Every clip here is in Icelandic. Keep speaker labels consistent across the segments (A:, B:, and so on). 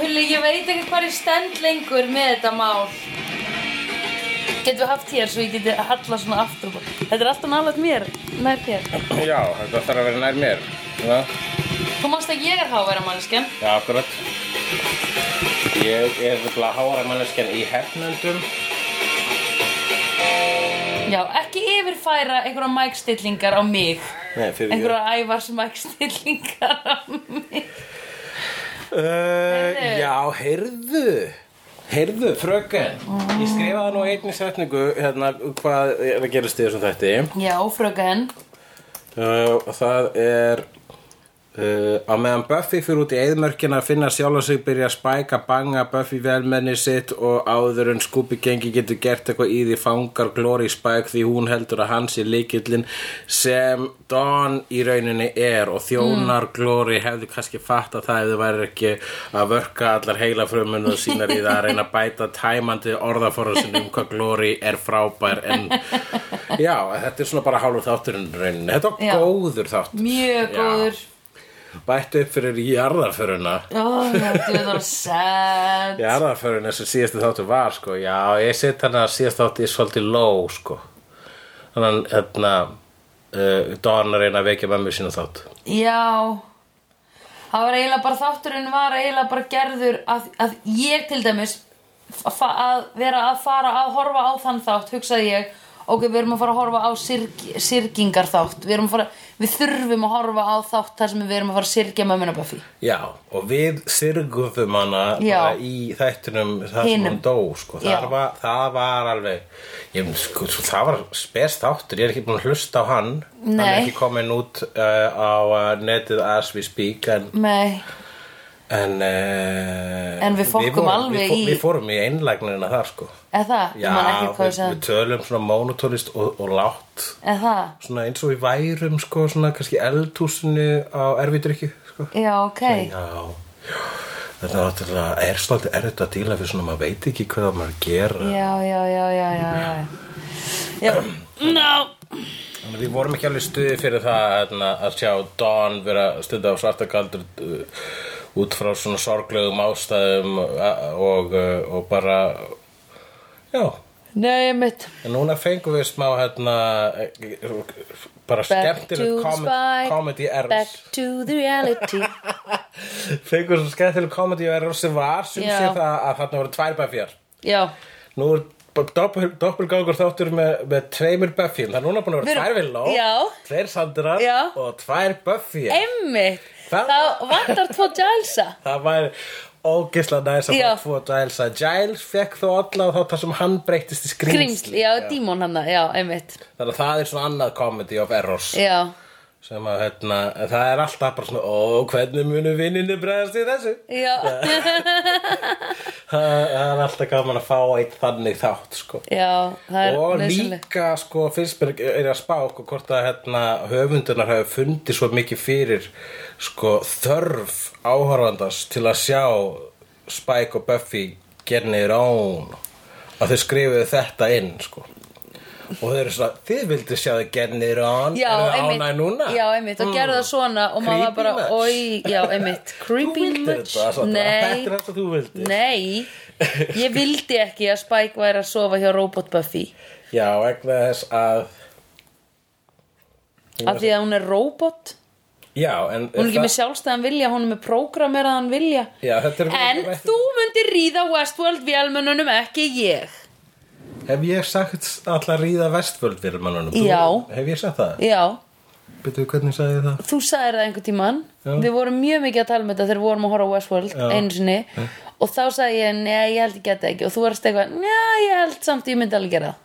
A: Hulli, ég veit ekki hvað ég stend lengur með þetta mál. Getum við haft hér svo ég geti halla svona aftur á bak. Þetta er alltaf nálega mér, nær þér.
B: Já, þetta þarf að vera nær mér. Já,
A: Þú manst að ég er háværa manneskjan.
B: já akkurat. Ég er nefnilega hára manneskjan í hernöndum.
A: Já, ekki yfirfæra einhverja mækstillingar á mig.
B: Nei, fyrir ég.
A: Einhverja ævars mækstillingar á mig.
B: Uh,
A: Heyrðu.
B: já, heyrðu. Heyrðu, fröken. Ég skrifaði nú einni setningu hérna hvað er að gerast í þessum þætti.
A: Já, fröken.
B: Uh, og það er... Uh, á meðan Buffy fyrir út í eðmörkina að finna sjálf sig byrja að spæka banga Buffy velmenni sitt og áður en Scooby gengi getur gert eitthvað í því fangar Glory Spike því hún heldur að hans er líkillin sem Dawn í rauninni er og þjónar
A: Mm.
B: Glory hefðu kannski fatt að það hefðu væri ekki að vörka allar heila frumunu sínar í það að reyna að bæta tæmandi orðaforðasinn um hvað Glory er frábær en já, þetta er svona bara hálfur þátturinn í rauninni, þetta
A: Já.
B: var góður þáttur
A: Mjög
B: Já.
A: góður.
B: Bættu upp fyrir jarðarföruna
A: Ó, já, þú er það sad.
B: Jarðarföruna sem síðasti þáttu var sko Já, ég set hana síðast þáttu í svolítið low sko Þannig að hérna uh, Don að reyna að vekja mömmu sína þátt
A: Já Það var eiginlega bara þátturinn var eiginlega bara gerður að, að ég til dæmis fa- að vera að fara að horfa á þann þátt hugsaði ég ok, við erum að fara að horfa á sirg, sirgingar þátt við, erum að fara, við þurfum að horfa á þátt þar sem við erum að fara að sirgja mömmuna Buffy
B: Já, og við sirguðum hana
A: Já.
B: bara í þættunum það sem
A: Hinum.
B: hún dó sko
A: Já.
B: það var, það var alveg ég, sko, svo, það var spes þáttur, ég er ekki búin að hlusta á hann Hann er
A: Nei.
B: ekki komin út uh, á uh, netið as we speak en
A: Nei,
B: En, uh,
A: En við fokkum alveg
B: við fó,
A: í-
B: Við fórum í einlagnina þar sko
A: eða það, ég man ekki hvað
B: við,
A: ég
B: við
A: sagði
B: tölum svona monotónist og, og látt
A: eða það,
B: Svona eins og við værum sko Svona kannski eldhúsinu á erfidrykju sko.
A: já ok
B: Já Þetta er náttúrulega er svolítið erfitt að díla Fyrir svona maður veit ekki hvað það maður að gera
A: já, já, já, já, já, já. já. No.
B: Þannig að Við vorum ekki alveg stuði fyrir það hérna, að sjá Don vera stuði á svarta kaldur uh, út frá svona sorglegum ástæðum uh, og, uh, og bara já,
A: Nei, mitt
B: en núna fengum við smá hérna eh, bara
A: Back to
B: skemmtileg
A: the
B: kom-
A: spike.
B: comedy errors
A: Back to the reality
B: fengum við svona skemmtileg comedy errors sem var sem
A: Já.
B: sé það að þarna voru tvær bæfjar
A: Já
B: nú er doppelgangur þáttur með, með tveimur Buffy það er núna búin að
A: Við
B: vera
A: erum-
B: tvær villó
A: Já.
B: tveir Sandrar
A: Já.
B: og tvær Buffy
A: Einmitt
B: Það-
A: Þá vantar tvo Gilesa
B: Það væri ógeðslega næs að
A: Já.
B: fá tvo Giles að Giles fekk þó alla þá þar sem hann breytist í skrýmsli
A: Grímsli, já, dímon hann Já, einmitt
B: Þannig að það er svona annað comedy of errors
A: Já,
B: sem að hérna, en það er alltaf bara svona ó, hvernig munu vinninni bregðast í þessu
A: já,
B: það, það er alltaf gaman að fá eitt þannig þátt sko
A: já Það er
B: og
A: nöðsynlegt
B: líka sko fyrst mér er að spá sko, hvort að hérna, höfundunar hafi fundið svo mikið fyrir sko þörf áhorfandans til að sjá Spike og Buffy gerni rán að þau skrifuðu þetta inn sko og þau eru svona, þið vildu sjá þau gerni rán
A: Já,
B: eru þau
A: einmitt
B: ánæg núna Hmm.
A: Já, einmitt, og gerðu það svona og maður var
B: Creepy
A: bara,
B: much.
A: oi, já, einmitt
B: Mm. þú
A: Creepy
B: vildir
A: much
B: þetta Sandra. þetta er
A: Nei,
B: það sem þú vildir
A: nei Ég vildi ekki að Spike væri að sofa hjá Robot Buffy
B: já, vegna þess að
A: af því að hún er robot
B: já,
A: Hún
B: en
A: er ekki
B: það-
A: með sjálfstæðan vilja, hún er með prógrameraðan vilja
B: já, þetta er
A: En þú myndir ríða Westworld vélmennunum, ekki ég
B: Hef ég sagt alltaf ríða vestvöld fyrir mannunum?
A: Já.
B: Hef ég sagt það?
A: Já,
B: Býtu, hvernig sagði ég það?
A: þú sagðir það einhvern tímann
B: Já.
A: Við vorum mjög mikið að tala um þetta þegar við vorum að horfa á Westworld
B: Já.
A: einu sinni Og þá sagði ég, nei, ég held ég geta ekki Og þú varst eitthvað, nei, ég held samt ég myndi alveg gera það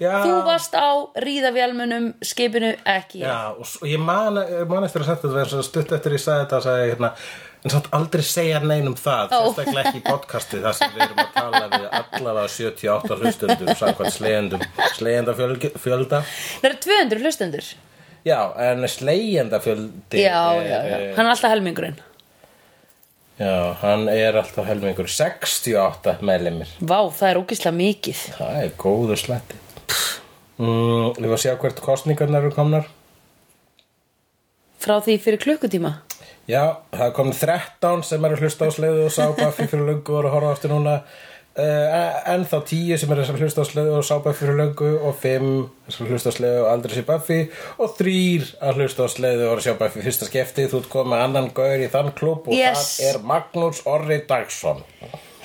B: Já.
A: Þú varst á ríða vélmennum, skipinu, ekki ég.
B: Ah. Já, og s- og ég man, ég man eftir að sagt þetta verður stutt eftir ég sagði þetta sagði ég hérna En samt aldrei segja nein um það,
A: Ó.
B: sérstaklega ekki í podcasti þar sem við erum að tala við allavega 78 hlustundur, samkvæmt slegjendum, slegjenda fjölda.
A: Það eru 200 hlustendur
B: Já, en slegjenda fjöldi.
A: Já, já, já, hann er alltaf helmingurinn
B: Já, hann er alltaf helmingur 68 meðlimir.
A: Vá, það er ógislega mikið
B: Það er góður sletti mm, Við varum að sjá hvert kostningarnar eru komnar
A: Frá því fyrir klukkutíma
B: Já, það er komin 13 sem eru að hlusta á sleiðu og sá Buffy fyrir löngu og eru að horfa aftur núna uh, en þá 10 sem eru að hlusta á sleiðu og sá Buffy fyrir löngu og 5 sem hlusta á sleiðu og aldrei sé Buffy og 3 að hlusta á sleiðu og eru að sjá Buffy fyrsta skefti þú ert komið annan gaur í þann klubb og
A: Yes.
B: það er Magnús Orri Dagsson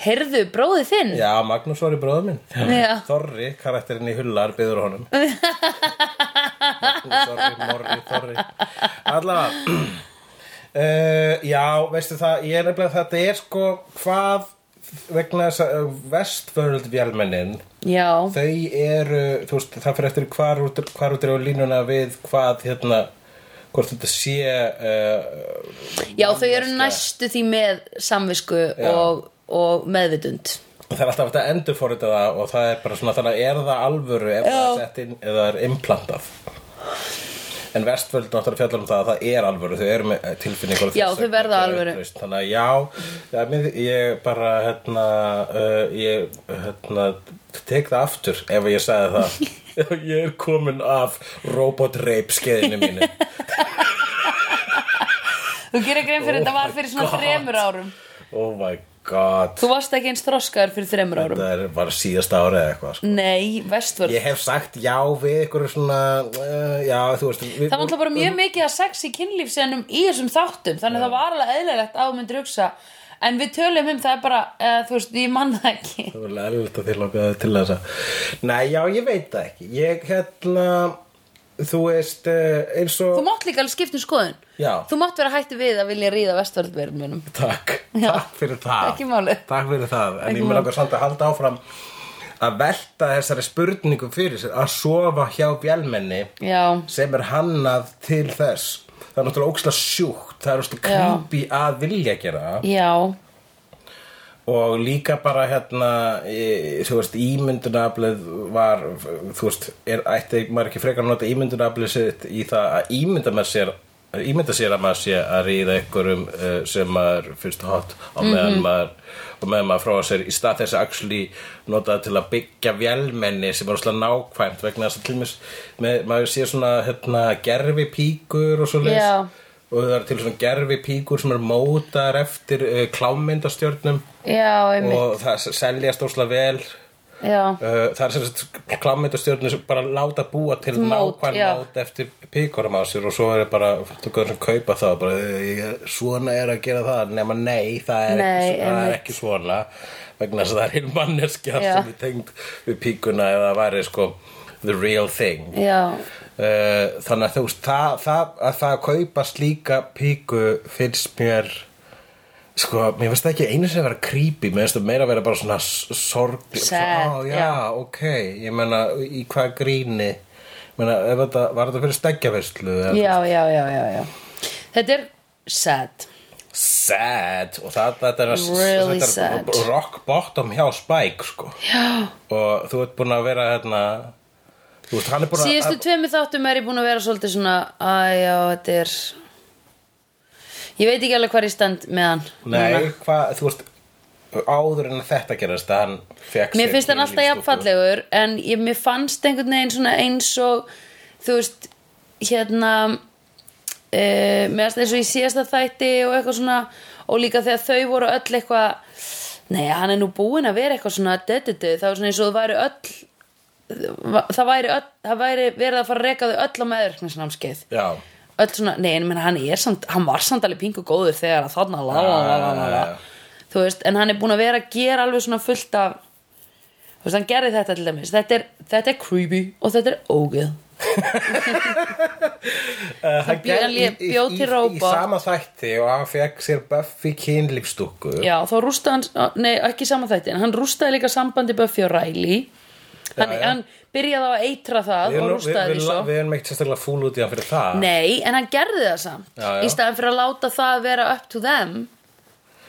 A: Heyrðu, bróðið þinn?
B: Já, Magnús Orri bróður minn
A: Já.
B: Þorri, karakterinn í hullar, byður honum Magnús Orri, Morri, Þorri Allavega Uh, já, veistu það, ég er nefnilega þetta er sko hvað vegna þess að vestvörld vélmennin,
A: Já.
B: þau eru þú veist, það fyrir eftir hvar út, hvar út er á línuna við hvað hérna, hvort þetta sé uh,
A: Já, þau eru næstu því með samvisku og, og meðvitund.
B: það er alltaf hægt að endurforita það og það er bara svona þannig að er það alvöru ef það er sett inn eða það er implantað en vestvöld náttúrulega fjallar um það að það er alvöru, þau eru með eh, tilfinningar og
A: Já,
B: þess-
A: þau verða
B: þau eru
A: alvöru.
B: uppreist. þannig að já, já mér, ég bara hérna, uh, ég hérna, tek það aftur ef ég sagði það ég er komin af robot rape skeiðinu mínu
A: Þú gerir grein fyrir
B: Oh
A: þetta var
B: my
A: fyrir svona
B: God.
A: þremur árum.
B: oh my god
A: Þú varst ekki eins þroskaður fyrir þremur árum.
B: þetta er bara síðasta árið eða eitthvað sko.
A: Nei, vestvörð.
B: Ég hef sagt já við ykkur svona, uh, já þú veist við,
A: Það var alltaf bara mjög mikið að sex í kynlífsenum í þessum þáttum, þannig það var alveg eðlilegt að þú myndir hugsa, en við tölum um það er bara, uh, þú veist, ég mann það ekki.
B: Það var alveg erfitt að tilhaka það til þess að Nei, já, ég veit það ekki Ég, hérna, þú veist, eh, eins og
A: Þú mátt líka alveg skipta um skoðun.
B: Já.
A: Þú mátt vera hætti við að vilja ríða vestvörðverðum minnum.
B: Takk,
A: Já.
B: takk fyrir það
A: Ekki máli.
B: Takk fyrir það, en
A: Ekki
B: ég
A: máli.
B: mér langar samt að halda áfram að velta þessari spurningu fyrir sér að sofa hjá bjálmenni
A: Já,
B: sem er hannað til þess Það er náttúrulega óksla sjúkt, það er náttúrulega
A: Já.
B: creepy að vilja gera það
A: já,
B: og líka bara hérna e, þú veist, ímyndunaflið var, þú veist er, ætti maður ekki frekar að nota ímyndunaflið sitt í það að ímynda maður sér ímynda sér að maður sé að ríða einhverjum uh, sem maður finnst hot og meðan maður og meðan maður fróða sér í stað þess að actually nota það til að byggja vélmenni sem er óslega nákvæmt vegna þess að til mér með, maður sé svona hérna, gerfi píkur og svo leys
A: Já.
B: og það er til svona gerfi píkur sem er mótar eftir uh, klámyndastjörnum
A: já, einmitt,
B: og það s- seljast óslega vel
A: já,
B: Uh, það er sem sagt klámyndastjörnir sem bara láta búa til
A: Mót,
B: nákvæm
A: já.
B: mót eftir píkorum á sér og svo er bara þú gauður sem kaupa það bara, eh, svona er að gera það nema nei, það er,
A: Nei,
B: ekki, það er
A: einmitt.
B: ekki svona vegna þess að það er hinn manneskja
A: Já.
B: sem er tengd við píkuna eða það væri sko the real thing
A: já,
B: Uh, þannig að þú veist það, það, að það að kaupa slíka píku finnst mér sko, mér finnst það ekki einu sem vera creepy, mér finnst það meira að vera bara svona s- sorg
A: Sad,
B: Á, já,
A: já.
B: ok, ég meina í hvað gríni Ég meina, ef þetta, var þetta fyrir steggjaverslu eða-
A: já, já, já, já, já. Þetta er sad.
B: sad og það, þetta er að-
A: Really
B: þetta er
A: sad.
B: rock bottom hjá Spike sko.
A: Já.
B: og þú ert búin að vera hérna, þú veist, hann er búin að
A: Síðustu tveimu þáttum er ég búin að vera svolítið svona Æ, já, þetta er Ég veit ekki alveg hvað ég stend með hann
B: Nei, hvað, þú veist áður en að þetta gerast að hann fekk
A: Mér
B: sér
A: finnst hann alltaf
B: kynlífsstúlku.
A: jafnfallegur En ég, mér fannst einhvern veginn svona eins og Þú veist, hérna uh, Mér fannst eins og í síðasta þætti Og eitthvað svona Og líka þegar þau voru öll eitthvað Nei, hann er nú búinn að vera eitthvað svona dödudu Það var svona eins og það væri öll Það væri, öll, það væri verið að fara að reka þau öll á meðverkningsnámskeið
B: Já,
A: öll svona, nei, en menn, hann er samt hann var samt alveg pingu góður þegar að þarna lá, lá, lá, lá, lá, lá. þú veist, en hann er búin að vera að gera alveg svona fullt af þú veist, hann gerði þetta til dæmis þetta er, þetta er creepy og þetta er ógeð
B: uh, hann
A: bjó-
B: gerði-
A: hann
B: í-
A: bjó
B: í-
A: til
B: Í
A: róbot.
B: sama þætti og hann fekk sér Buffy kynlífstúku
A: já, þá rústaði hann, nei, ekki sama þætti en hann rústaði líka sambandi Buffy og Riley hann,
B: Já, já.
A: hann byrjaði á að eitra það
B: Við
A: og
B: erum, við,
A: rústaði
B: við,
A: því svo
B: við erum ekkert sérstaklega fúl út í hann fyrir það
A: nei, en hann gerði það samt
B: Já, já.
A: í staðan fyrir að láta það vera up to them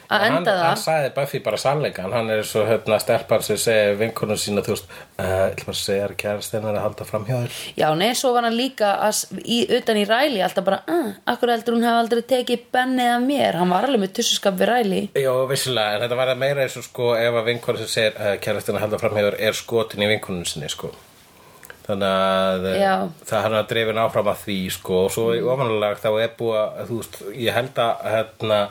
A: að
B: hann,
A: enda
B: hann
A: það
B: sagði Buffy bara sannleikan hann er svo hérna stelpar sem segir vinkonum sína þú veist, uh, ætlum að segja að kærast hennar að halda fram hjá þér
A: Já, nei, svo var hann líka að, s- í, utan í ræli alltaf bara, uh, akkur heldur hún hefði aldrei tekið bennið af mér, hann var alveg með tussuskap við ræli.
B: Jó, vissulega, en þetta var meira eh, eins og sko ef að vinkonum sem segir uh, kærast hennar að halda fram hjá þér er skotin í vinkonum sinni sko þannig að
A: Já.
B: það hann er drefin áfram að því sko og svo mm. ofanlega þá er búið að þú veist, ég held að hérna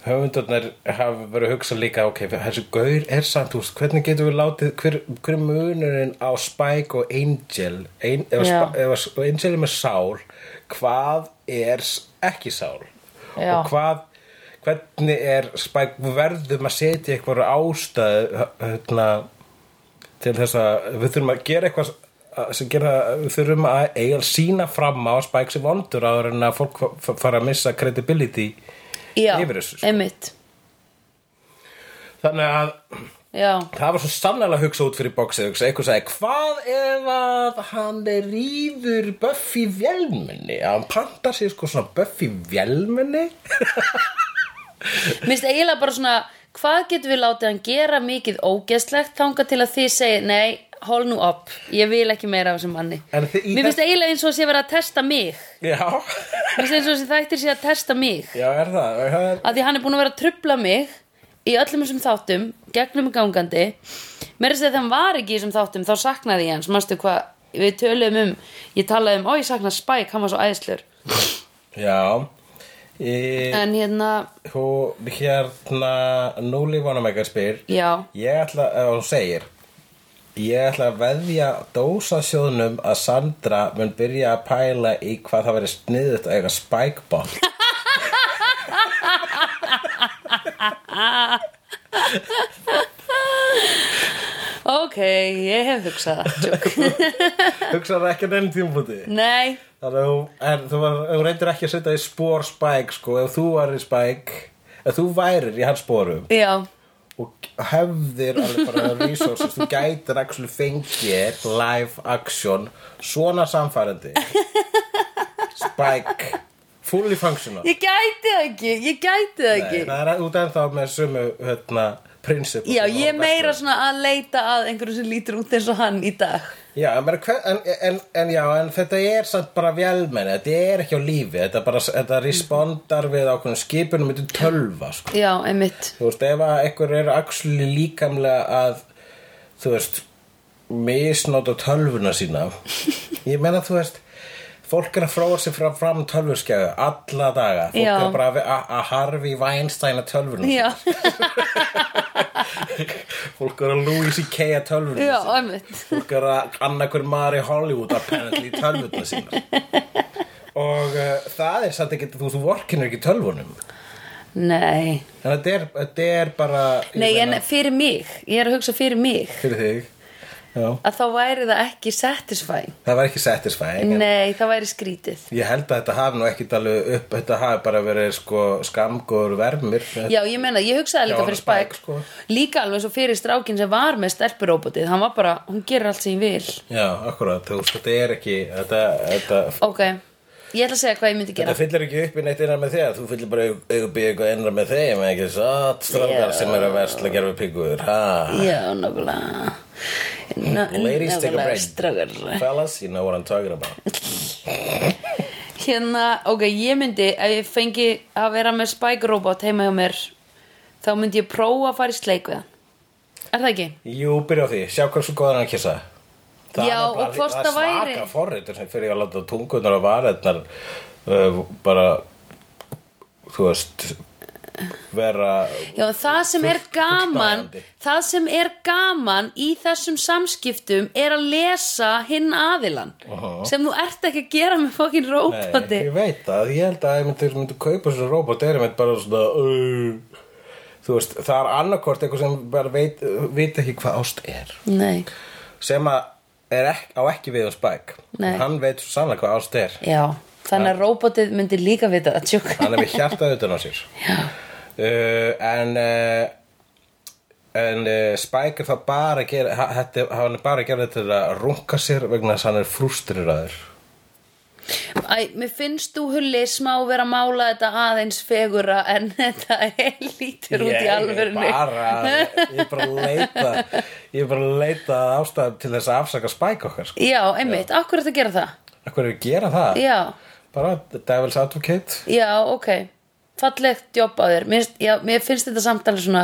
B: höfundurnar hafa verið að hugsa líka ok, þessi gaur er samt þú veist, hvernig getum við látið, hver, hver er munurinn á Spike og Angel Ein, ef,
A: Já.
B: Sp- ef að Angel er með sál hvað er s- ekki sál
A: Já.
B: og hvað hvernig er Spike við verðum að setja eitthvað ástæð hérna til þess að við þurfum að gera eitthvað sem gera, við þurfum að eiga sína fram á Spike sem vondur áður en að fólk fa- fara að missa credibility
A: já,
B: yfir þessu, sko.
A: einmitt
B: þannig að
A: já,
B: það var svo sannlega hugsa út fyrir boxið hugsa, eitthvað sagði, hvað ef að hann rýfur Buffy vélmenni að hann pantar sér sko svona Buffy vélmenni
A: Mér finnst eiginlega bara svona hvað getum við látið hann gera mikið ógeðslegt þanga til að þið segir nei, hol nú upp, ég vil ekki meira af þessum manni
B: En þið- í
A: Mér finnst
B: þess-
A: eiginlega eins og sé verið að testa mig
B: já,
A: Mér finnst eins og sé þættir sé að testa mig
B: já er það, það er,
A: að því hann er búin að vera að trubla mig í öllum þessum þáttum, gegnum gangandi mér er að þegar hann var ekki í þessum þáttum þá saknaði ég hans, manstu hvað við töluðum um, ég talaði um ó ég sakna Spike, hann var svo æðslur
B: já e,
A: en hérna,
B: Hú, hérna Núli Vanamekar spyr
A: já,
B: Ég ætla, ef hún segir Ég ætla að veðja dósasjóðnum að Sandra mun byrja að pæla í hvað það verið sniðut að eiga spækball
A: ok ég hef hugsað það, tjók
B: Hugsaðu það ekki á neinum tímpúti
A: nei,
B: Þannig að þú, en þú, var, þú reyndir ekki að setja í spór spæk sko, ef þú varir spæk ef þú værir í hans spórum
A: já
B: og hefðir alveg bara resources, þú gætir actually fengir live action svona samfærandi Spike fully functional
A: Ég gæti það ekki, ég gæti það ekki
B: Nei, það er út ennþá með sömu hérna, prinsip
A: Já, ég er meira svona að leita að einhverju sem lítur út eins og hann í dag
B: já, en, bara hver- en, en, en, já, en þetta er samt bara vélmenni þetta er ekki á lífi þetta, bara, þetta respondar við ákveðum skipunum myndi tölva sko.
A: Já, einmitt
B: þú veist, ef að einhver er axli líkamlega að þú veist, misnóta tölvuna sína ég meina þú veist fólk er að fróa sig frá fram tölvurskjáðu alla daga, fólk
A: Já.
B: er bara að- að- að harfi vænstæna tölvuna sína.
A: Já,
B: fólk er að Louis C.K. að tölvuna
A: já,
B: sína.
A: einmitt
B: fólk er að annarkur maður í Hollywood apparently í tölvuna sína og uh, það er satt ekki þú, þú vorkinur ekki tölvunum
A: Nei,
B: en þetta er, þetta er bara ég
A: nei, en
B: meina,
A: fyrir mig Ég er að hugsa fyrir mig
B: fyrir þig Já.
A: Að þá væri það ekki satisfying
B: Það var ekki satisfying en
A: Nei, það væri skrítið
B: Ég held að þetta hafi nú ekkit alveg upp Þetta hafi bara verið sko skamgur vermir
A: Já, ég meina, ég hugsaði líka
B: Já,
A: fyrir
B: Spike,
A: Spike
B: sko.
A: Líka alveg svo fyrir strákin sem var með stelpurobotið Hann var bara, hún gerir allt sem ég vil
B: Já, akkurat, þú veist, þetta er ekki Þetta, þetta,
A: Ok, ég ætla að segja hvað ég myndi gera
B: þetta fyllir ekki upp í neitt innan með þér Þú fyllir bara upp í eitthvað innan með þeim ekki satt, strákar
A: Já.
B: sem eru að versla gerfi píkur ha.
A: Já, nákvæmlega Na,
B: Ladies, take a
A: nákvæmlega,
B: break.
A: strákar.
B: Fellas, you know what I'm talking about
A: Hérna, ok, ég myndi ef ég fengi að vera með Spike Robot heima hjá mér þá myndi ég prófa að fara í sleik við hann Er það ekki?
B: Jú, byrja á því, sjá hversu góðan hann kissa Það
A: Já,
B: er bara-
A: og hvort
B: það
A: það
B: er
A: væri-
B: svaka forritur sem fyrir að láta tungunar og varirnar uh, bara þú veist vera
A: Já, það sem er
B: Full-
A: gaman
B: fullnægjandi.
A: það sem er gaman í þessum samskiptum er að lesa hinn aðilan
B: Aha.
A: sem þú ert ekki að gera með fokkin roboti
B: ég veit það, ég held að ég myndi, myndi kaupa svona robot er einmitt bara svona uh, þú veist, það er annarkort eitthvað sem bara veit, veit ekki hvað ást er
A: Nei,
B: sem að er ek, á ekki við um Spike
A: Nei.
B: hann veit svo sannlega hvað ást er
A: já Þannig að robotið myndi líka vita það tjók
B: hann er með hjartað utan á sér
A: Já,
B: uh, en uh, en uh, Spike er það bara að gera ha- þetta, hann er bara að gera þetta til að runga sér vegna þess að hann er frústriraður
A: Æ, mér finnst þú hulli smá vera að mála þetta aðeins fegura en þetta er lítur út í alvörinu
B: Ég er bara, ég er bara að leita ég er bara að leita að ástæðum til þess að afsaka Spike okkar sko.
A: Já, einmitt, akkur þetta gera það
B: Akkur er að gera það?
A: Já,
B: Bara Devil's Advocate
A: já, ok Fallegt jobb á þér Mér, finnst- já, mér finnst þetta samtali svona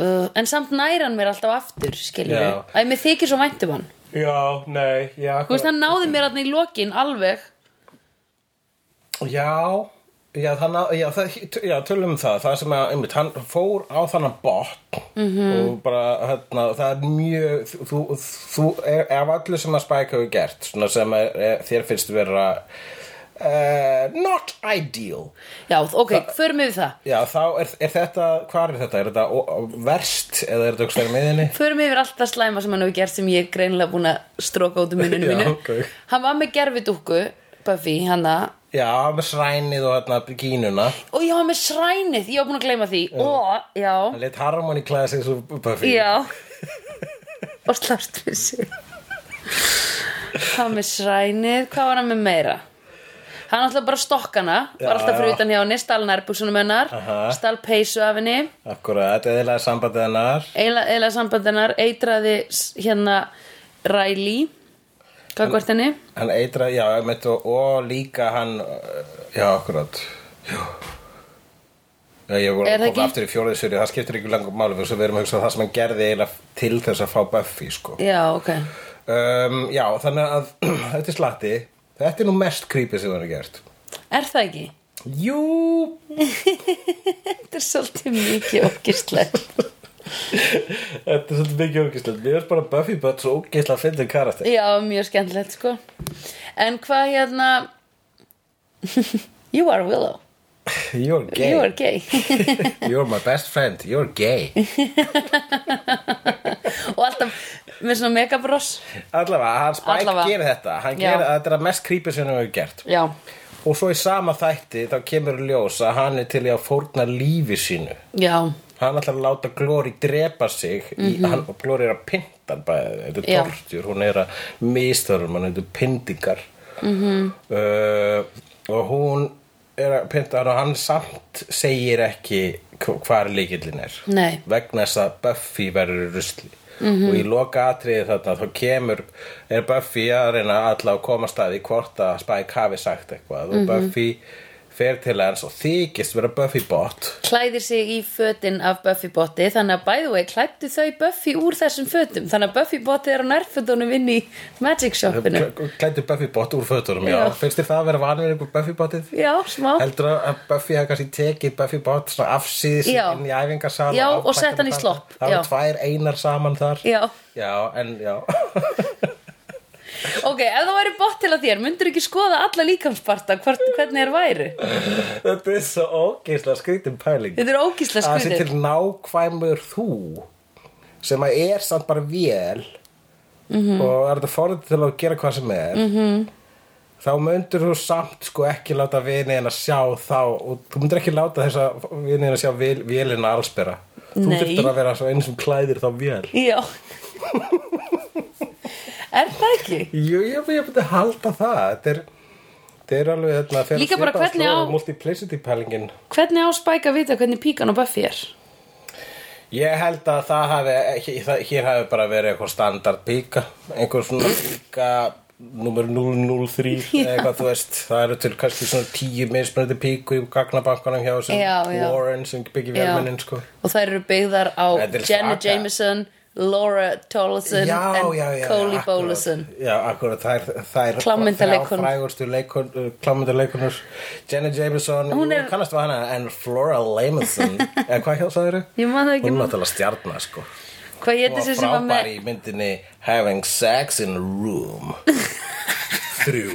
A: uh, En samt næran mér alltaf aftur, skilur
B: Já.
A: Æ, mér þykir svo væntum hann
B: Já, nei, já
A: Þú veist, hann náði mér hann í lokin alveg
B: Já, já, þannig að, já, það, já, tölum um það, það sem að, einmitt, hann fór á þannig bot og bara, hérna, það er mjög, þú, þú, er, ef allir sem að Spike hefur gert, svona sem er, er, þér finnst vera uh, not ideal,
A: Já, ok, förum við það
B: já, þá er, er þetta, hvað er þetta, er þetta ó- ó- verst eða er þetta okkur stærri meðinni?
A: Förum yfir allt það slæma sem hann hefur gert sem ég er greinilega búin að stróka út um muninu
B: Já,
A: mínu
B: ok.
A: Hann var með gerfidúkku, Buffy, hanna
B: Já, með srænið og hérna bikínuna,
A: Og ég var með srænið, ég var búin að gleyma því Ó, já,
B: hann leitt Harmony Class eins og Buffy.
A: já Og slast við sig Hann var með srænið, hvað var hann með meira? Hann alltaf bara stokkana,
B: Já,
A: var alltaf fyrir
B: já.
A: utan hjá henni, stal nærbúksunum hennar,
B: Aha.
A: stal peysu af henni
B: Akkurat, eðilega sambandið hennar.
A: eila, eila sambandennar eitraði s- hérna Riley gagvart henni
B: Hann eitra, já, einmitt, og, og líka hann, uh, já, akkurat, já. Já, ég voru
A: Er það
B: að koma
A: ekki?
B: aftur í fjóriðsverju, það skiptir ekki langum máli, þess að við erum að hugsa um það sem hann gerði eiginlega til þess að fá Buffy, sko.
A: já ok
B: Um, já, þannig að þetta er slatti, þetta er nú mest creepy sem hann er gert.
A: er það ekki?
B: Jú,
A: þetta er svolítið mikið okkistlegt
B: þetta er svolítið mikið ógislega, mér er bara Buffy bara svo ógislega að finna karakter.
A: já mjög skemmtilegt sko en hvað hérna you are Willow
B: You're gay,
A: you are gay
B: you're my best friend, you're gay.
A: og alltaf með svona megabross
B: Allavega, hann Spike
A: Allavega.
B: gerir þetta, hann
A: Já.
B: gerir, þetta er að mest creepy sem hann hefur gert.
A: já
B: Og svo í sama þætti þá kemur í ljós að hann er til í að fórna lífi sínu.
A: já
B: Hann ætlar að láta Glory drepa sig í, hann, og Glory er að pynta hann bara, þetta
A: Mhm. Já.
B: er tortjur, hún er að mistörum, hann heitir pyntingar. Mm
A: Mhm.
B: Uh, og hún er að pynta hann og hann samt segir ekki hv- hvar líkillin er.
A: Nei.
B: Vegna þess að Buffy verður í rusli.
A: Mhm.
B: Og í loka atriði þarna þá kemur, er Buffy að reyna alltaf að koma staði hvort að Spike hafi sagt eitthvað
A: Mhm.
B: og Buffy fer til hans og þykist vera Buffy bot
A: klæðir sig í fötin af Buffy botti þannig að by the way klættu þau Buffy úr þessum fötum þannig að Buffy botti er á nærfötunum inn í Magic Shopinu
B: Klættu Buffy bot úr fötunum, já.
A: Já.
B: Finnst þér það að vera vanverið úr Buffy botið?
A: já smá
B: Heldur að Buffy hafa kannski tekið Buffy bot svona afsýðis
A: Já.
B: inn í æfingasal
A: Já,
B: afbætt
A: og sett hann í
B: þarna.
A: slopp,
B: Það
A: já.
B: var tvær einar saman þar.
A: já
B: Já, en já.
A: Ok, ef það væri bótt til að þér, myndur ekki skoða alla líkamsparta hvort, hvernig þér væri?
B: Þetta er svo ógeislega skrítum pæling.
A: Ah, Þetta er ógísla
B: að sé
A: skrýtið.
B: til nákvæmur þú sem að er samt bara vél
A: Mhm.
B: og er þetta forðið til að gera hvað sem er -hmm. þá myndir þú samt sko ekki láta vinið að sjá þá og þú myndir ekki láta þess að vinið að sjá vél, vélina allsbera þú
A: Nei.
B: þurftir að vera svo einu sem klæðir þá vél
A: Já. er það ekki?
B: Jú, ég, ég myndi halda það þetta er, þetta er alveg þetta fer-
A: Líka bara
B: svipað
A: hvernig
B: slóð og
A: á-
B: multiplicity pælingin
A: Hvernig á Spike að vita hvernig píkan á Buffy er?
B: Ég held að það hafi, það- hér hafi bara verið eitthvað standard píka, einhver svona píka nummer 003 eða eitthvað þú veist, það eru til kannski svona tíu mismunandi píku í gagnabankanum hjá sem
A: Já, já.
B: Warren sem byggir
A: Já.
B: velmennin sko.
A: Og þær eru byggðar á
B: Þetta er
A: Jenna
B: svaka.
A: Jameson, Laura
B: Já,
A: Tollison
B: já,
A: en
B: já, já,
A: Coley
B: akkúrat.
A: Bolason.
B: Já, akkurat, það er, það er
A: Klámyndaleikkon-
B: frægurstu leikon, uh, klámyndaleikonur Jenna Jameson,
A: Hún
B: hún
A: er-
B: kannast við hana en Flora Lamison, eða hvað hjá það eru?
A: Ég man það ekki,
B: Hún er
A: man-
B: náttúrulega stjarnar sko
A: Hvað ég
B: Hún
A: þessi
B: var
A: sem var
B: frábær
A: með...
B: í myndinni Having Sex in a Room Þrjú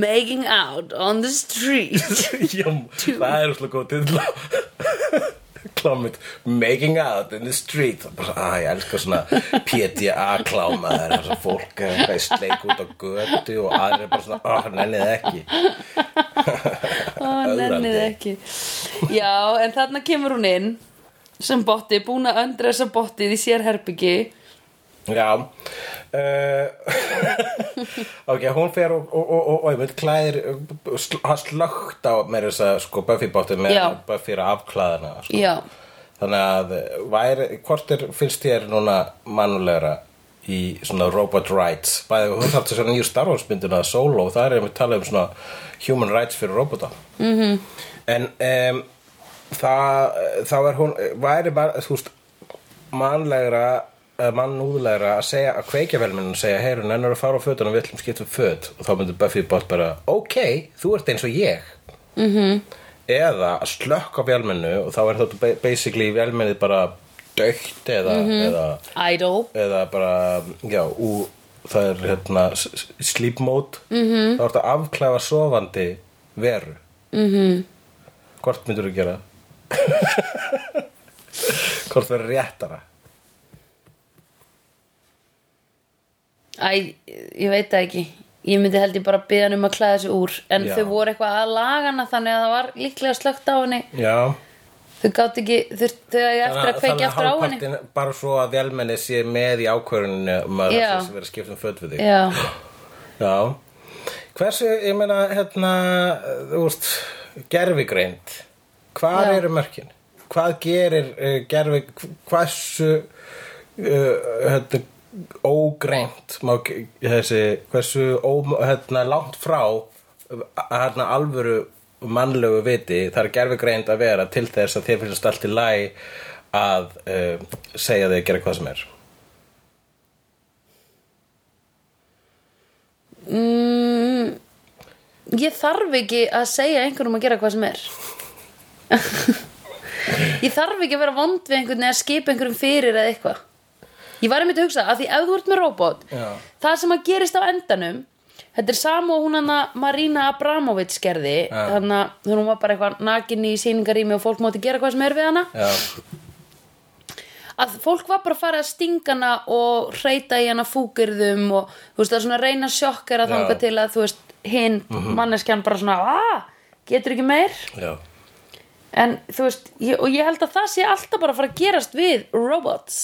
A: Making out on the street.
B: Já, það er svolítið góð titla Klámynd Making out in the street Bara, Æ, ég elska svona PDA kláma Það er þess að fólk er eitthvað í sleik út á götu og aðrir er bara svona, ó, nennið þið ekki
A: Ó, nennið ekki Já, en þarna kemur hún inn sem botti, búin að öndra þessa bottið í sér herbyggi
B: Já uh, Ok, hún fer og, og, og, og, og einmitt klæðir eh, sl- hann slögt á með þess að sko Buffy bótti með
A: Já.
B: Buffy er að afklæðina sko.
A: Já,
B: Þannig að eh, væri, hvort er, finnst þér núna mannulegra í svona robot rights bæði hún þátti svona nýju Star Wars myndina solo og það er einmitt talað um svona human rights fyrir robota mm -hmm. en um, það, þá er hún væri bara, þú veist mannlegra eða mannúðlegra að segja að kveikja velminn og segja heyr hún ennur að fara á fötunum við ætlum skiptum föt og þá myndir Buffy bótt bara ok, þú ert eins og ég -hmm. eða að slökka velminnu og þá er þetta basically velminnið bara dögt eða,
A: Mhm.
B: eða,
A: Idol
B: eða bara já, ú, það er hérna s- s- sleep mode
A: Mhm.
B: -hmm. þá er þetta afklæfa sofandi veru mm
A: Mhm.
B: -hmm. hvort myndir þú gera hvort verður réttara
A: Æ, ég veit það ekki Ég myndi held ég bara byggja hann um að klæða sig úr En
B: Já.
A: þau voru eitthvað að laga hana Þannig að það var líklega slögt á henni
B: já
A: Þau gátt ekki, þau, þau eigi eftir að kveikja aftur á henni
B: hálfpartinn bara svo að velmenni sé með í ákvöruninu um að
A: Já.
B: það sem verið að skipta um föt við þig
A: Já,
B: Já. Hversu, ég meina, hérna, þú veist, gerfigreind, hvað
A: Já.
B: eru mörkin? Hvað gerir uh, gerfi, hversu, uh, hérna, ógreint, má, ge- þessi, hversu, ó, hérna, langt frá, uh, hérna, alvöru mannlegu viti, það er gerfigreind að vera til þess að þér finnst allt í lagi að uh, segja þig að gera hvað sem er.
A: ég þarf ekki að segja einhverjum að gera hvað sem er Ég þarf ekki að vera vond við einhvern eða skipa einhverjum fyrir eða eitthvað Ég var einmitt að hugsa að því ef þú ert með robot
B: Já.
A: Það sem að gerist á endanum Þetta er sama og hún hann að Marina Abramovic gerði
B: Já.
A: Þannig að þegar hún var bara eitthvað nakin í sýningarými og fólk mátti gera hvað sem er við hana
B: Já,
A: að fólk var bara að fara að stinga hana og reyta í hana fúkirðum og þú veist að svona reyna sjokkar að
B: Já. Mhm.
A: þanga til að þú veist hinn manneskjan bara svona aaa, getur ekki meir
B: já.
A: en þú veist, ég, og ég held að það sé alltaf bara að fara að gerast við robots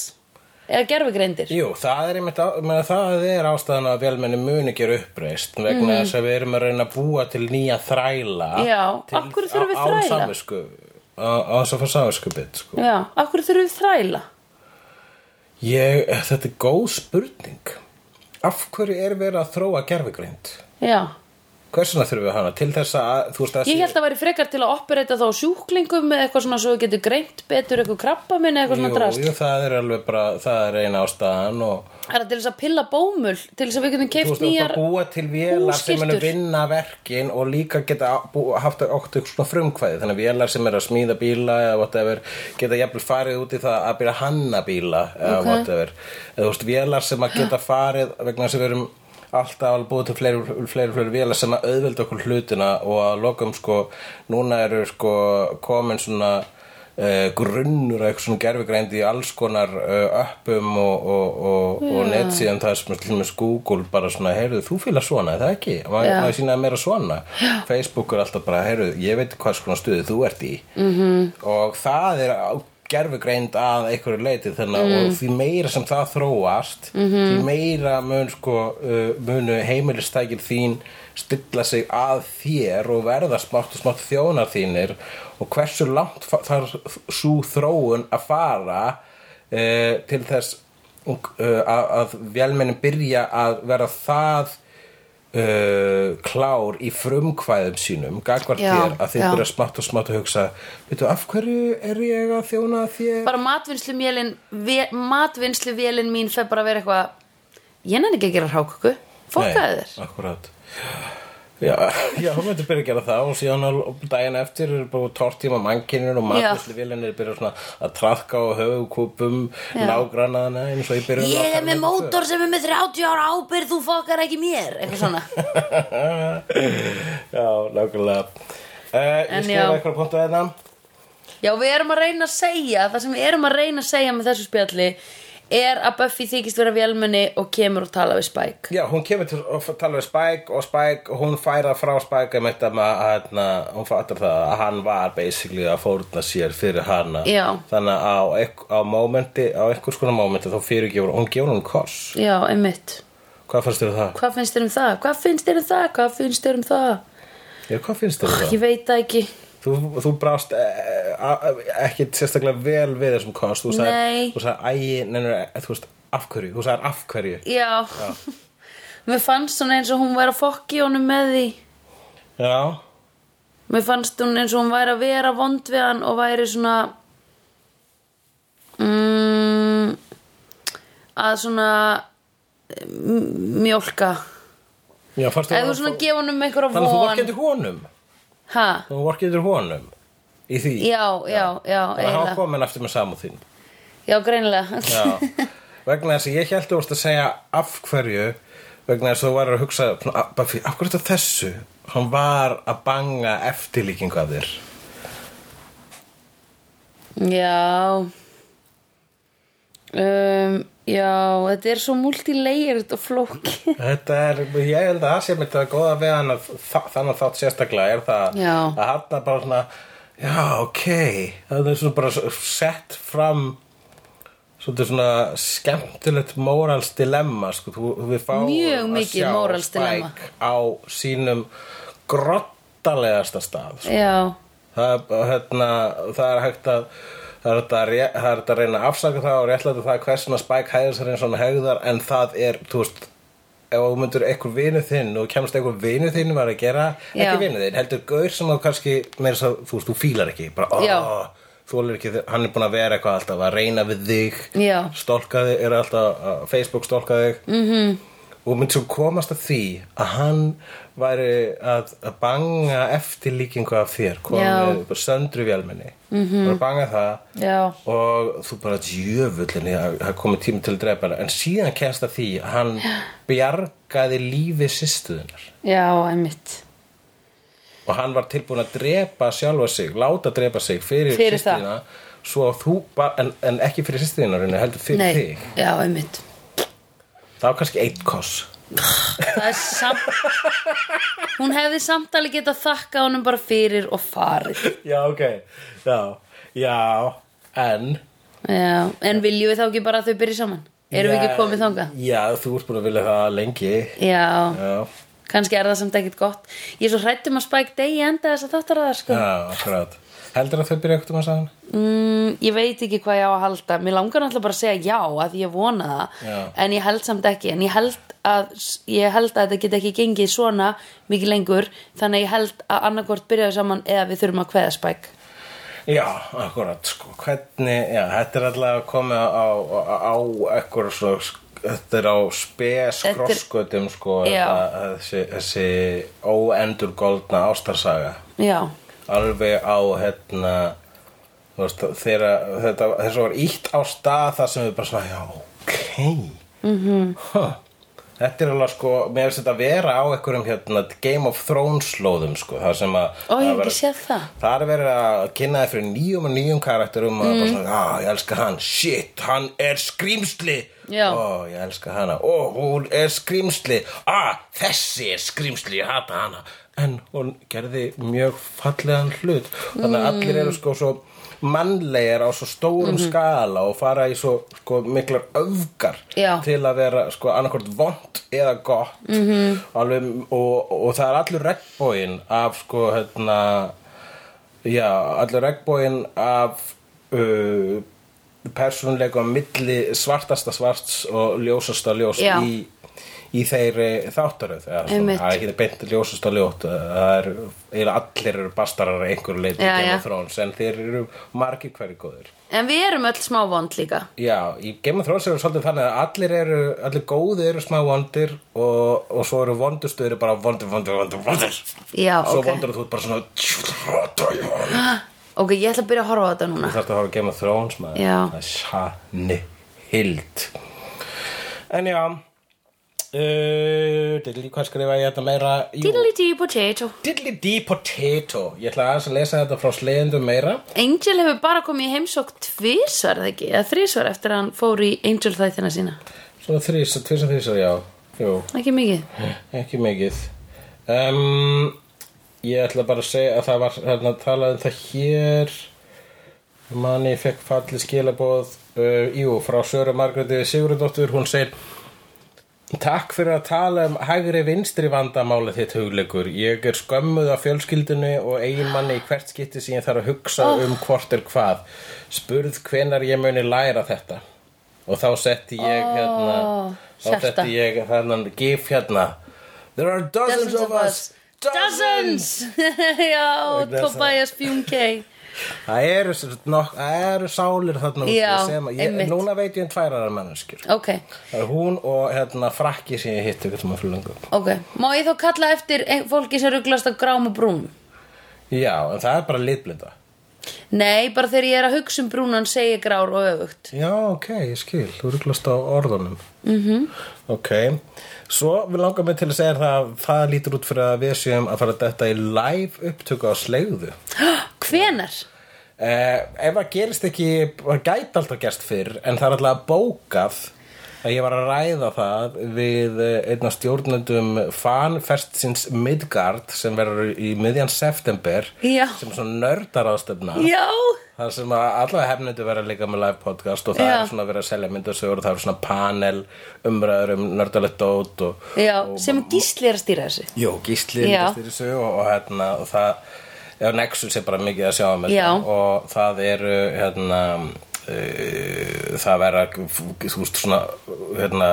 A: eða gerfugreindir
B: Jú, það er, einmitt, á- meina, það er ástæðan að velmenni muni ekki eru uppreist vegna þess að við erum að reyna að búa til nýja þræla
A: Mm. Já,
B: til,
A: af hverju þurfum við
B: á- Án
A: þræla?
B: samvisku, á, á þess að fá samviskubit sko.
A: Já, af hverju þurfum við þræla?
B: Ég, þetta er góð spurning Af hverju er verið að þróa gerfugrind?
A: Já,
B: Hversuna þurfum við hana? Til þess að, þú veist að
A: ég held að væri frekar til að operita þá á sjúklingum eða eitthvað svona svo við getur greint betur eitthvað krabba minn eitthvað svona drast
B: Jú, jú, það er alveg bara, það er eina ástæðan og
A: Það er til þess að pilla bómul til þess að við getum
B: Þú
A: keift
B: veist, þú ert
A: nýjar
B: að búa til vélar sem munu
A: hússkiltur.
B: vinna verkin og líka geta bú, haft okkur svona frumkvæði þannig að vélar sem er að smíða bíla eða whatever, geta jafnvel farið út í það að byrja að hanna bíla eða
A: Ok.
B: whatever eða þú veist, vélar sem að geta farið vegna þess að við erum alltaf alveg búið til fleiri, fleiri, fleiri vélar sem að auðvelda okkur hlutina og að lokum sko, núna eru sko komin svona uh, grunnur að eitthvað svona gerfigreind í alls konar uh, uppum og, og, og, og netsíðan það sem til með Google bara svona, heyrðu, þú fýla svona, er það ekki? Má
A: Já.
B: yeah. sína meira svona Facebook er alltaf bara, heyrðu, ég veit hvað svona stuði þú ert í -hmm. og það er gerfugreind að einhverju leiti þannig og því meira sem það þróast -hmm. því meira mun sko uh, munu heimilistækir þín stilla sig að þér og verða smátt og smátt þjónar þínir og hversu langt fa- þarf svo þróun að fara uh, til þess uh, að, að velmennin byrja að vera það uh, klár í frumkvæðum sínum gagvart
A: Já,
B: þér að þið
A: já.
B: byrja smátt og smátt að hugsa veitu, af hverju er ég að þjóna þér
A: bara matvinnslu mjölin matvinnslu vélin mín fer bara að vera eitthvað ég nenni ekki að gera hráköku fokkaði þér
B: akkurat Já, já, hún veitur byrja að gera það og síðan á daginn eftir er bara tortíma mannkinir og
A: Já.
B: matvæsluvélinir byrja svona að trafka á höfukúpum nágrannaðana eins og ég byrja
A: ég er með mótor sem er með 30 ára ábyrð þú fokkar ekki mér eitthvað svona
B: Já, nákvæmlega uh,
A: En
B: Ég
A: já.
B: skrifa eitthvað punktu að þetta
A: já við erum að reyna að segja það sem við erum að reyna að segja með þessu spjalli er að Buffy þykist vera vélmenni og kemur og tala við Spike
B: Já, hún kemur til að tala við Spike og Spike, hún færa frá Spike um þetta með að hérna, hún fattar það að hann var basically að fórna sér fyrir hana
A: Já.
B: þannig að á, eik- á momenti, á einhvers konar momenti þá fyrir gefur, hún gefur hún koss
A: já einmitt
B: Hvað fannst þér um það?
A: hvað finnst þér um það, hvað finnst þér um það, hvað finnst þér um það
B: Já, hvað finnst þér um það?
A: ég veit það ekki
B: Þú, þú brást e, ekki sérstaklega vel við þessum koss Þú
A: Nei.
B: sagði, þú sagði, æ, neina, þú veist, af hverju Þú sagði, af hverju
A: Já, mér fannst hún eins og hún væri að fokki honum með því
B: Já,
A: Mér fannst hún eins og hún væri að vera vond við hann og væri svona mm, að svona m- mjólka
B: Já, fannst
A: eða
B: þú
A: þú svona gefa honum einhverja von
B: Þannig að þú vorkendur honum
A: ha,
B: Þú vorkendur honum Í því
A: já, já, já,
B: Þannig að hann
A: eiginlega
B: komin aftur með samúð þín
A: já, greinilega
B: Já Vegna þess að ég held þú varst að segja af hverju Vegna þess að þú var að hugsa svona, "Af- Buffy, Af hverju þetta þessu Hann var að banga eftirlíkingu af þér
A: Já um, Já, þetta er svo multilayered og flóki
B: Þetta er, ég held að það sem þetta góða við hann að þannig þátt sérstaklega er það
A: Já.
B: að hann er bara svona já, ok það er svona bara s- sett fram svolítið svona skemmtilegt mórals dilemma sko. þú, þú- við fáum
A: Mjög
B: að
A: mikið
B: sjá
A: morals dilemma.
B: Spike á sínum grottalegasta stað sko.
A: Já,
B: það, er, hérna, það er hægt að Það er, hægt að ré, það er hægt að reyna að afsaka það og réttlæta það hversuna Spike hæðir sér eins og hann hegðar en það er, þú veist ef þú myndir einhver vinu þinn og kemst einhver vinu þinn var að gera,
A: Já.
B: ekki vinu þinn heldur gaur sem þú kannski, meira svo þú veist, þú fílar ekki, bara,
A: Já.
B: ó, þú er ekki hann er búin að vera eitthvað alltaf að reyna við þig
A: Já.
B: stólka þig, er alltaf að Facebook stólka þig mm
A: Mhm.
B: -hmm. og myndir svo komast að því að hann væri að, að banga eftirlíkingu af þér
A: Já. Mhm.
B: komið bara söndru vélmenni mm -hmm. bara banga það
A: já,
B: og þú bara djöfullinni að það komið tími til að drepa hana en síðan kemst að því að hann bjargaði lífi sýstuðunar
A: já, einmitt
B: og hann var tilbúin að drepa sjálfa sig láta drepa sig fyrir,
A: Fyrir það.
B: sýstuðina svo að þú, ba- en, en ekki fyrir sýstuðunar heldur fyrir
A: Nei,
B: þig
A: já, einmitt
B: það var kannski eitt koss
A: Það er samt Hún hefði samt alveg getað þakka honum bara fyrir og farið
B: já ok, já, já en
A: Já, en viljum við þá ekki bara að þau byrja saman? Erum við
B: Já,
A: ekki komið þangað?
B: já, þú ert búin að vilja það lengi
A: Já,
B: já,
A: kannski er það samt ekkit gott Ég er svo hrættum að Spike degi enda þess að þáttaraðar sko
B: já, akkurat heldur að þau byrja eitthvað maður saman
A: Mm, ég veit ekki hvað ég á að halda Mér langar náttúrulega bara að segja já að ég vona það
B: Já.
A: En ég held samt ekki En ég held að, ég held að þetta get ekki gengið svona mikið lengur Þannig að ég held að annarkvort byrjaðu saman Eða við þurfum að kveða spæk
B: Já, akkurat, sko, hvernig, já, þetta er alltaf að koma á, á, á ekkur svo, þetta er á spes
A: Þetta er-
B: krossgötum, sko,
A: Já.
B: þetta, þessi, þessi óendur goldna ástarsaga,
A: Já,
B: alveg á, hérna, þú veist, þeirra, þetta, þessu var ítt á stað þar sem við bara svona, já, ok, mm
A: Mhm.
B: þetta er alveg, sko, mér finnst þetta að vera á ekkurum, hérna, Game of Thrones slóðum, sko, þar sem að,
A: ó ég
B: að
A: hef
B: vera-
A: ekki séð það
B: Það er verið að kynna þið fyrir nýjum og nýjum karakterum og
A: Mm.
B: bara svona, ah, ég elska hann, shit, hann er skrýmsli
A: Já.
B: Ó, ég elska hana, ó, hún er skrýmsli Ah, þessi er skrýmsli, ég hata hana En hún gerði mjög fallegan hlut Þannig að allir
A: Mm.
B: eru sko svo mannlegir á svo stórum
A: Mhm.
B: skala og fara í svo sko, miklar öfgar
A: Já.
B: til að vera sko annarkvort vond eða gott
A: Mhm.
B: -hmm. alveg, og, og það er allur regnbóin af sko hérna Já, allur regnbóin af uh, persónleika á milli svartasta svarts og ljósasta ljós
A: Já.
B: í, í þeirri þáttaröð eða svona,
A: Einmitt.
B: það er ekki beint ljósasta ljót það er, eiginlega allir eru bastarar að einhverju leiti
A: Já,
B: Game
A: já.
B: of Thrones en þeir eru margir hverju góðir
A: En við erum öll smá vond líka
B: Já, í Game of Thrones eru svolítið þannig að allir eru, allir góðir eru smá vondir og, og svo eru vondustu eru bara vondir, vondir, vondir, vondir
A: Já,
B: Svo
A: ok
B: vondur að þú ert bara svona "Djöfull,
A: Ok, ég ætla að byrja að horfa á þetta núna
B: Þú þarfst að horfa á Game of Thrones maður
A: Já.
B: Það er sanni hild En já uh, Dilli, hvað skrifa ég þetta meira? Jú,
A: Diddly-dee potato
B: Dilli dee potato Ég ætla aðeins að lesa þetta frá sleðendum meira
A: Angel hefur bara komið í heimsók tvisvar, eða ekki, eða þrisvar eftir að hann fór í Angel þættina sína.
B: Svona þrís, tvisar þrísar, já Jú,
A: Ekki mikið.
B: ekki mikið um, Ég ætla bara að segja að það var hérna, talað um það hér manni fekk fallið skilabóð uh, jú, frá Söru Margréti Sigurðardóttur, hún segir Takk fyrir að tala um hægri vinstri vandamáli þitt hugleikur. Ég er skömmuð af fjölskyldinu og eiginmanni í hvert skipti sem ég þarf að hugsa um hvort er hvað. Spurð hvenar ég muni læra þetta. Og þá setti ég hérna, þá
A: hjarta.
B: setti ég hérna, gif hérna. There are dozens, of us.
A: Dozens! Já,
B: Vegna þess að-
A: Tobias Fumke.
B: það eru, sem sagt nokk, það eru sálir þarna úti
A: Já,
B: sem, að- ég,
A: einmitt.
B: núna veit ég um tvær aðra manneskjur
A: Ok,
B: það er hún og hérna frakki sem ég hitti við þum að fyrir löngu
A: ok. Má ég þá kalla eftir ein- fólki sem rugglast á grám og brún?
B: já, en það er bara litblinda
A: Nei, bara þegar ég er að hugsa um brúnan segi ég grár og öfugt.
B: já, ok, ég skil, þú rugglast á orðunum mm -hmm. ok svo við langar mig til að segja það að það lítur út fyrir að við séum að fara þetta í live upptöku á slegðu
A: Hvenar?
B: Eh, ef það gerist ekki, það gæti alltaf gerst fyrr en það er alltaf bókað að ég var að ræða það við eh, einn af stjórnendum fanfestsins Midgard sem verður í miðjan september
A: Já.
B: sem er svona nördar ástefna
A: Já.
B: Það sem að allavega hefnendu vera líka með live podcast og það
A: Já.
B: er svona verið að selja myndasögur og það er svona panel umræður um nördalegt dót og,
A: Já,
B: og
A: sem gísli er að stýra þessu.
B: Jó, gísli
A: Já.
B: myndast þessu og, og hérna og það, já, Nexus er bara mikið að sjá um
A: Já.
B: þetta og það eru hérna uh, það vera þú veist svona hérna,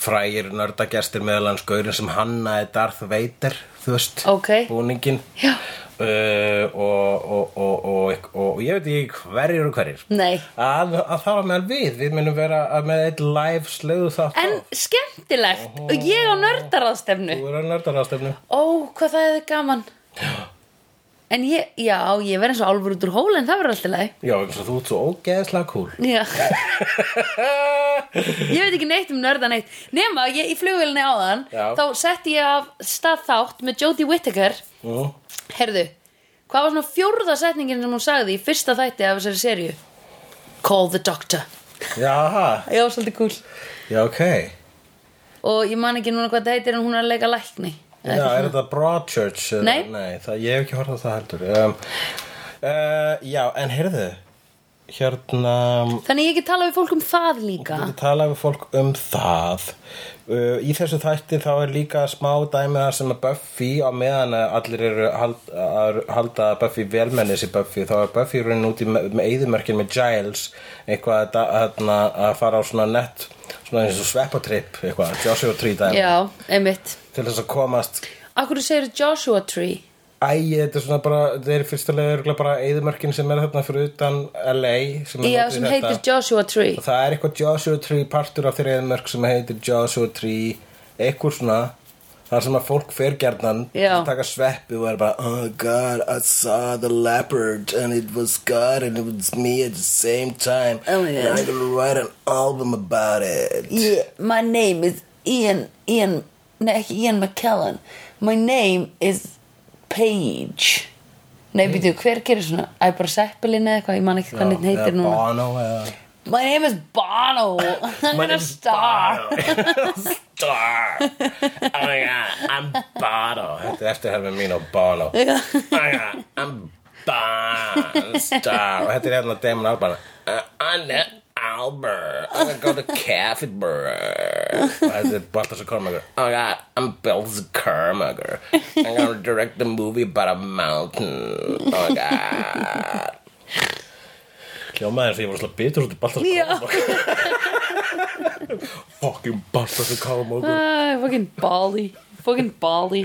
B: frægir nördagestir meðal hans gaurin sem hannaði Darth Vader þú veist,
A: Ókei.
B: búningin
A: Já.
B: Uh, og, og, og, og, og, og ég veit ekki hverjir og hverjir
A: Nei.
B: að, að það var meðal við við munum vera að með eitt live slöðu þátt
A: En skemmtilegt. Og ég á nördaraðstefnu.
B: þú eru að nördarastefnu
A: Ó, hvað það er gaman. En ég, já, ég verð eins og álfur út úr hóla en það verður alltaf leið.
B: Já, eins og þú ert svo ógeðslega cool
A: Já, ég veit ekki neitt um nörda neitt. Nema, ég í flugvélni áðan,
B: Já.
A: þá setti ég af stað þátt með Jodie Whittaker.
B: Nú,
A: Herðu, hvað var svona fjórða setningin sem hún sagði í fyrsta þætti af þessari serju? Call the doctor.
B: Jaha,
A: Já, svolítið cool.
B: já ok
A: Og ég man ekki núna hvað þetta heitir en hún er að leika lækni.
B: Já, er þetta Broadchurch? eða-
A: Nei.
B: Nei, það, ég hef ekki horfð á það heldur um, uh, Já, en heyrðu Hérna
A: Þannig ég ekki tala við fólk um það líka.
B: Við tala við fólk um það uh, Í þessu þætti þá er líka smá dæmi þar sem að Buffy á meðan að allir eru hald, að halda að Buffy velmennis í Buffy þá er Buffy raunin út í me- með eyðumörkin með Giles eitthvað að, da- hérna, að fara á svona nett svona eins og sveppatripp eitthvað, Joshua Tree dæmi
A: Já, einmitt.
B: til þess að komast
A: Akkur segir Joshua Tree?
B: Æ, þetta er svona bara, þetta er fyrstulega örgulega bara eyðumörkin sem er þarna fyrir utan LA sem, er
A: Já,
B: notuð í
A: sem
B: þetta.
A: heitir Joshua Tree.
B: Og það er eitthvað Joshua Tree partur af þeirri eðmörk sem heitir Joshua Tree eitthvað svona þar sem að fólk fer gjarnan
A: Já.
B: að taka sveppi og er bara oh god, I saw the leopard and it was God and it was me at the same time
A: Oh, yeah.
B: and I'm gonna write an album about it
A: Yeah, my name is Ian, Ian, nei ekki Ian McKellen. My name is Paige. Nei, býtu, hver gerir svona? Æ, bara Seppelin eða eitthvað, ég man ekki hvað hann
B: eða
A: heitir núna.
B: Bono eða
A: My name is Bono. I'm
B: My
A: a
B: name's
A: star.
B: Bono. star. Oh my god, I'm Bono. Þetta er eftirherfið mín á Bono. Oh my god, I'm Bono. Star. Og þetta er hérna Damon Albarn. Uh, I'm the Albert. I'm gonna go to Caffeyburg. Og þetta er Baltasar Kormagur. Oh my god, I'm Bells Kormagur. I'm gonna direct the movie about a mountain. Oh my god. Hljómaði eins og ég var svolítið bitur út í Baltasar
A: Já.
B: fucking Baltasar Kármókur
A: Æ, fucking Bali. Fucking Bali.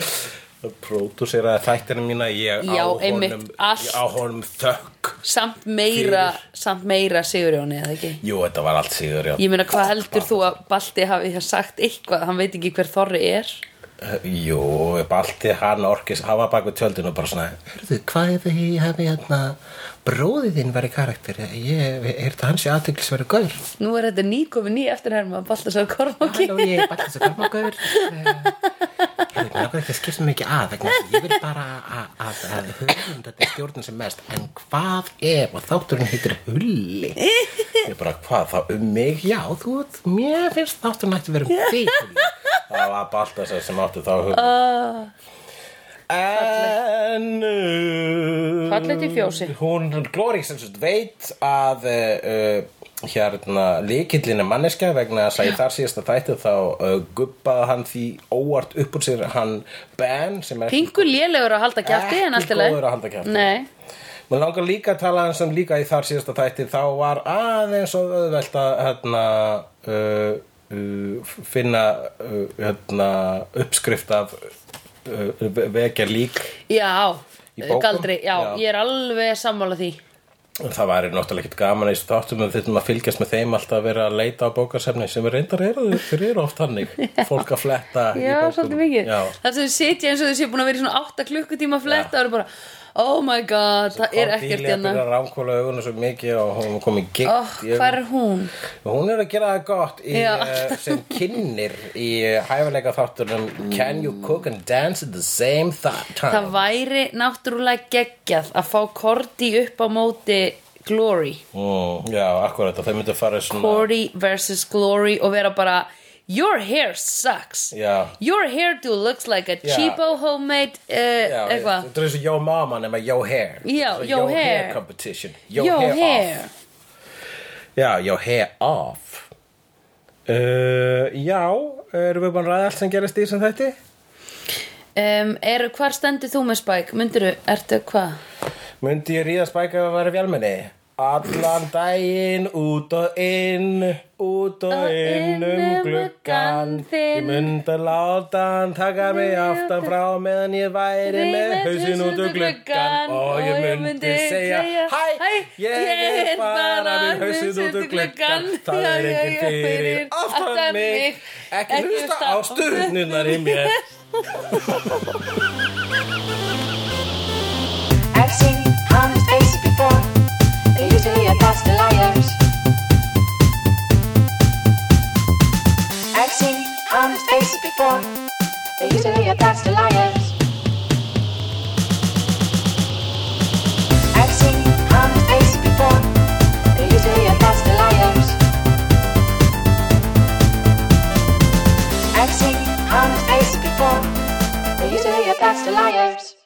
B: að pródúsera þættina mína ég
A: Já,
B: á honum,
A: einmitt, allt.
B: ég á honum þökk
A: Samt meira, samt meira Sigurjóni, eða ekki?
B: Jú, þetta var allt síður, já
A: Ég meina, hvað heldur þú að Balti hafi sagt eitthvað? Hann veit ekki hver Þorri er.
B: Jú, Balti, hann orkis, hann var bak við tjöldinu og bara svona Hörðu, hvað ef ég hefði hérna bróðið þinn verið karakter ég er þetta hans í aðteglisverið gaur
A: Nú er þetta nýkomi ný eftirherma Baltasar Kormáki
B: Halló, ég er Baltasar Kármókur Hörðu, mér langar ekki að skipta mikið að vegna þess að ég vil bara að, að, að höfum þetta stjórnum sem mest en hvað ef og þátturinn heitir Hulli Ég bara, hvað, þá um mig? Já, þú veit, mér finnst þátturinn ætti að vera um því Hulli Það var Baltasar sem átti þá hugum
A: Ah.
B: En uh,
A: Fallegt í fjósi.
B: Hún, hún Glóri sem sagt veit að uh, uh, hérna líkillin er manneskja vegna þess að í þar síðasta þætti þá uh, gubbaði hann því óvart upp úr sér hann Ben sem er
A: Pingu lélegur að halda kjæfti en
B: Ekki
A: allt í lagi.
B: góður að halda kjafti.
A: Nei,
B: Mér langar líka að tala eins um líka í þar síðasta þætti þá var aðeins og auðvelt að hérna, uh, uh, finna uh, hérna, uppskrift af uh, vekja lík
A: já
B: Í bókum?
A: Galdri, já,
B: Já.
A: ég er alveg sammála því
B: það væri náttúrulega ekkert gaman í þessu þáttum við þurfum að fylgjast með þeim alltaf að vera að leita á bókasefni sem er reyndar eru þeir eru oft hannig fólk að fletta í
A: Já,
B: bókum.
A: svolítið mikið
B: já,
A: Þar sem þau sitja eins og þau séu búin að vera í svona 8 klukkutíma að fletta og eru bara, oh my god það er ekkert
B: Cordelia
A: hérna
B: byrjar að um- ránkóla augunum svo mikið og hún er komið gitt
A: oh, Hvað er hún?
B: hún er að gera það gott í,
A: Já.
B: uh, sem kynir í hæfileika þáttunum Can you cook and dance at the same th- time
A: Það væri náttúrulega geggjað að fá Cordy upp á móti Glory
B: mm, Já, akkurat, og þau myndu fara í svona
A: Cordy versus Glory og vera bara Your hair sucks
B: Já.
A: Your hairdo looks like a
B: Já.
A: cheapo homemade
B: Já,
A: uh, eitthvað
B: þetta er eins og Yo Mama nema Yo Hair
A: Já,
B: Svo
A: Yo Hair.
B: competition Yo,
A: Your,
B: hair,
A: hair
B: Off. Já, Yo Hair Off uh, Já, erum við búin að ræða allt sem gerist í sem þetta?
A: um, er, Hvar stendur þú með Spike? Myndirðu, ertu hvað?
B: Myndi ég ríða spæka að vera fjálmenni? Allan daginn, út og inn, út og
A: Og inn
B: inn um
A: um
B: gluggan
A: gluggann þinn.
B: Ég myndi að láta hann taka mig aftan frá meðan ég væri með hausin út um gluggan Og ég myndi segja, hæ, ég er bara með hausin út um gluggan Það er enginn fyrir aftan mig, ekki hlusta á sturnunar í mér
C: I've seen honest faces before. They're usually a pass to liars. I've seen honest faces before. They're usually a pass to liars. I've seen honest faces before. They're usually a pass to liars. I've seen honest faces before. They're usually a pass to liars.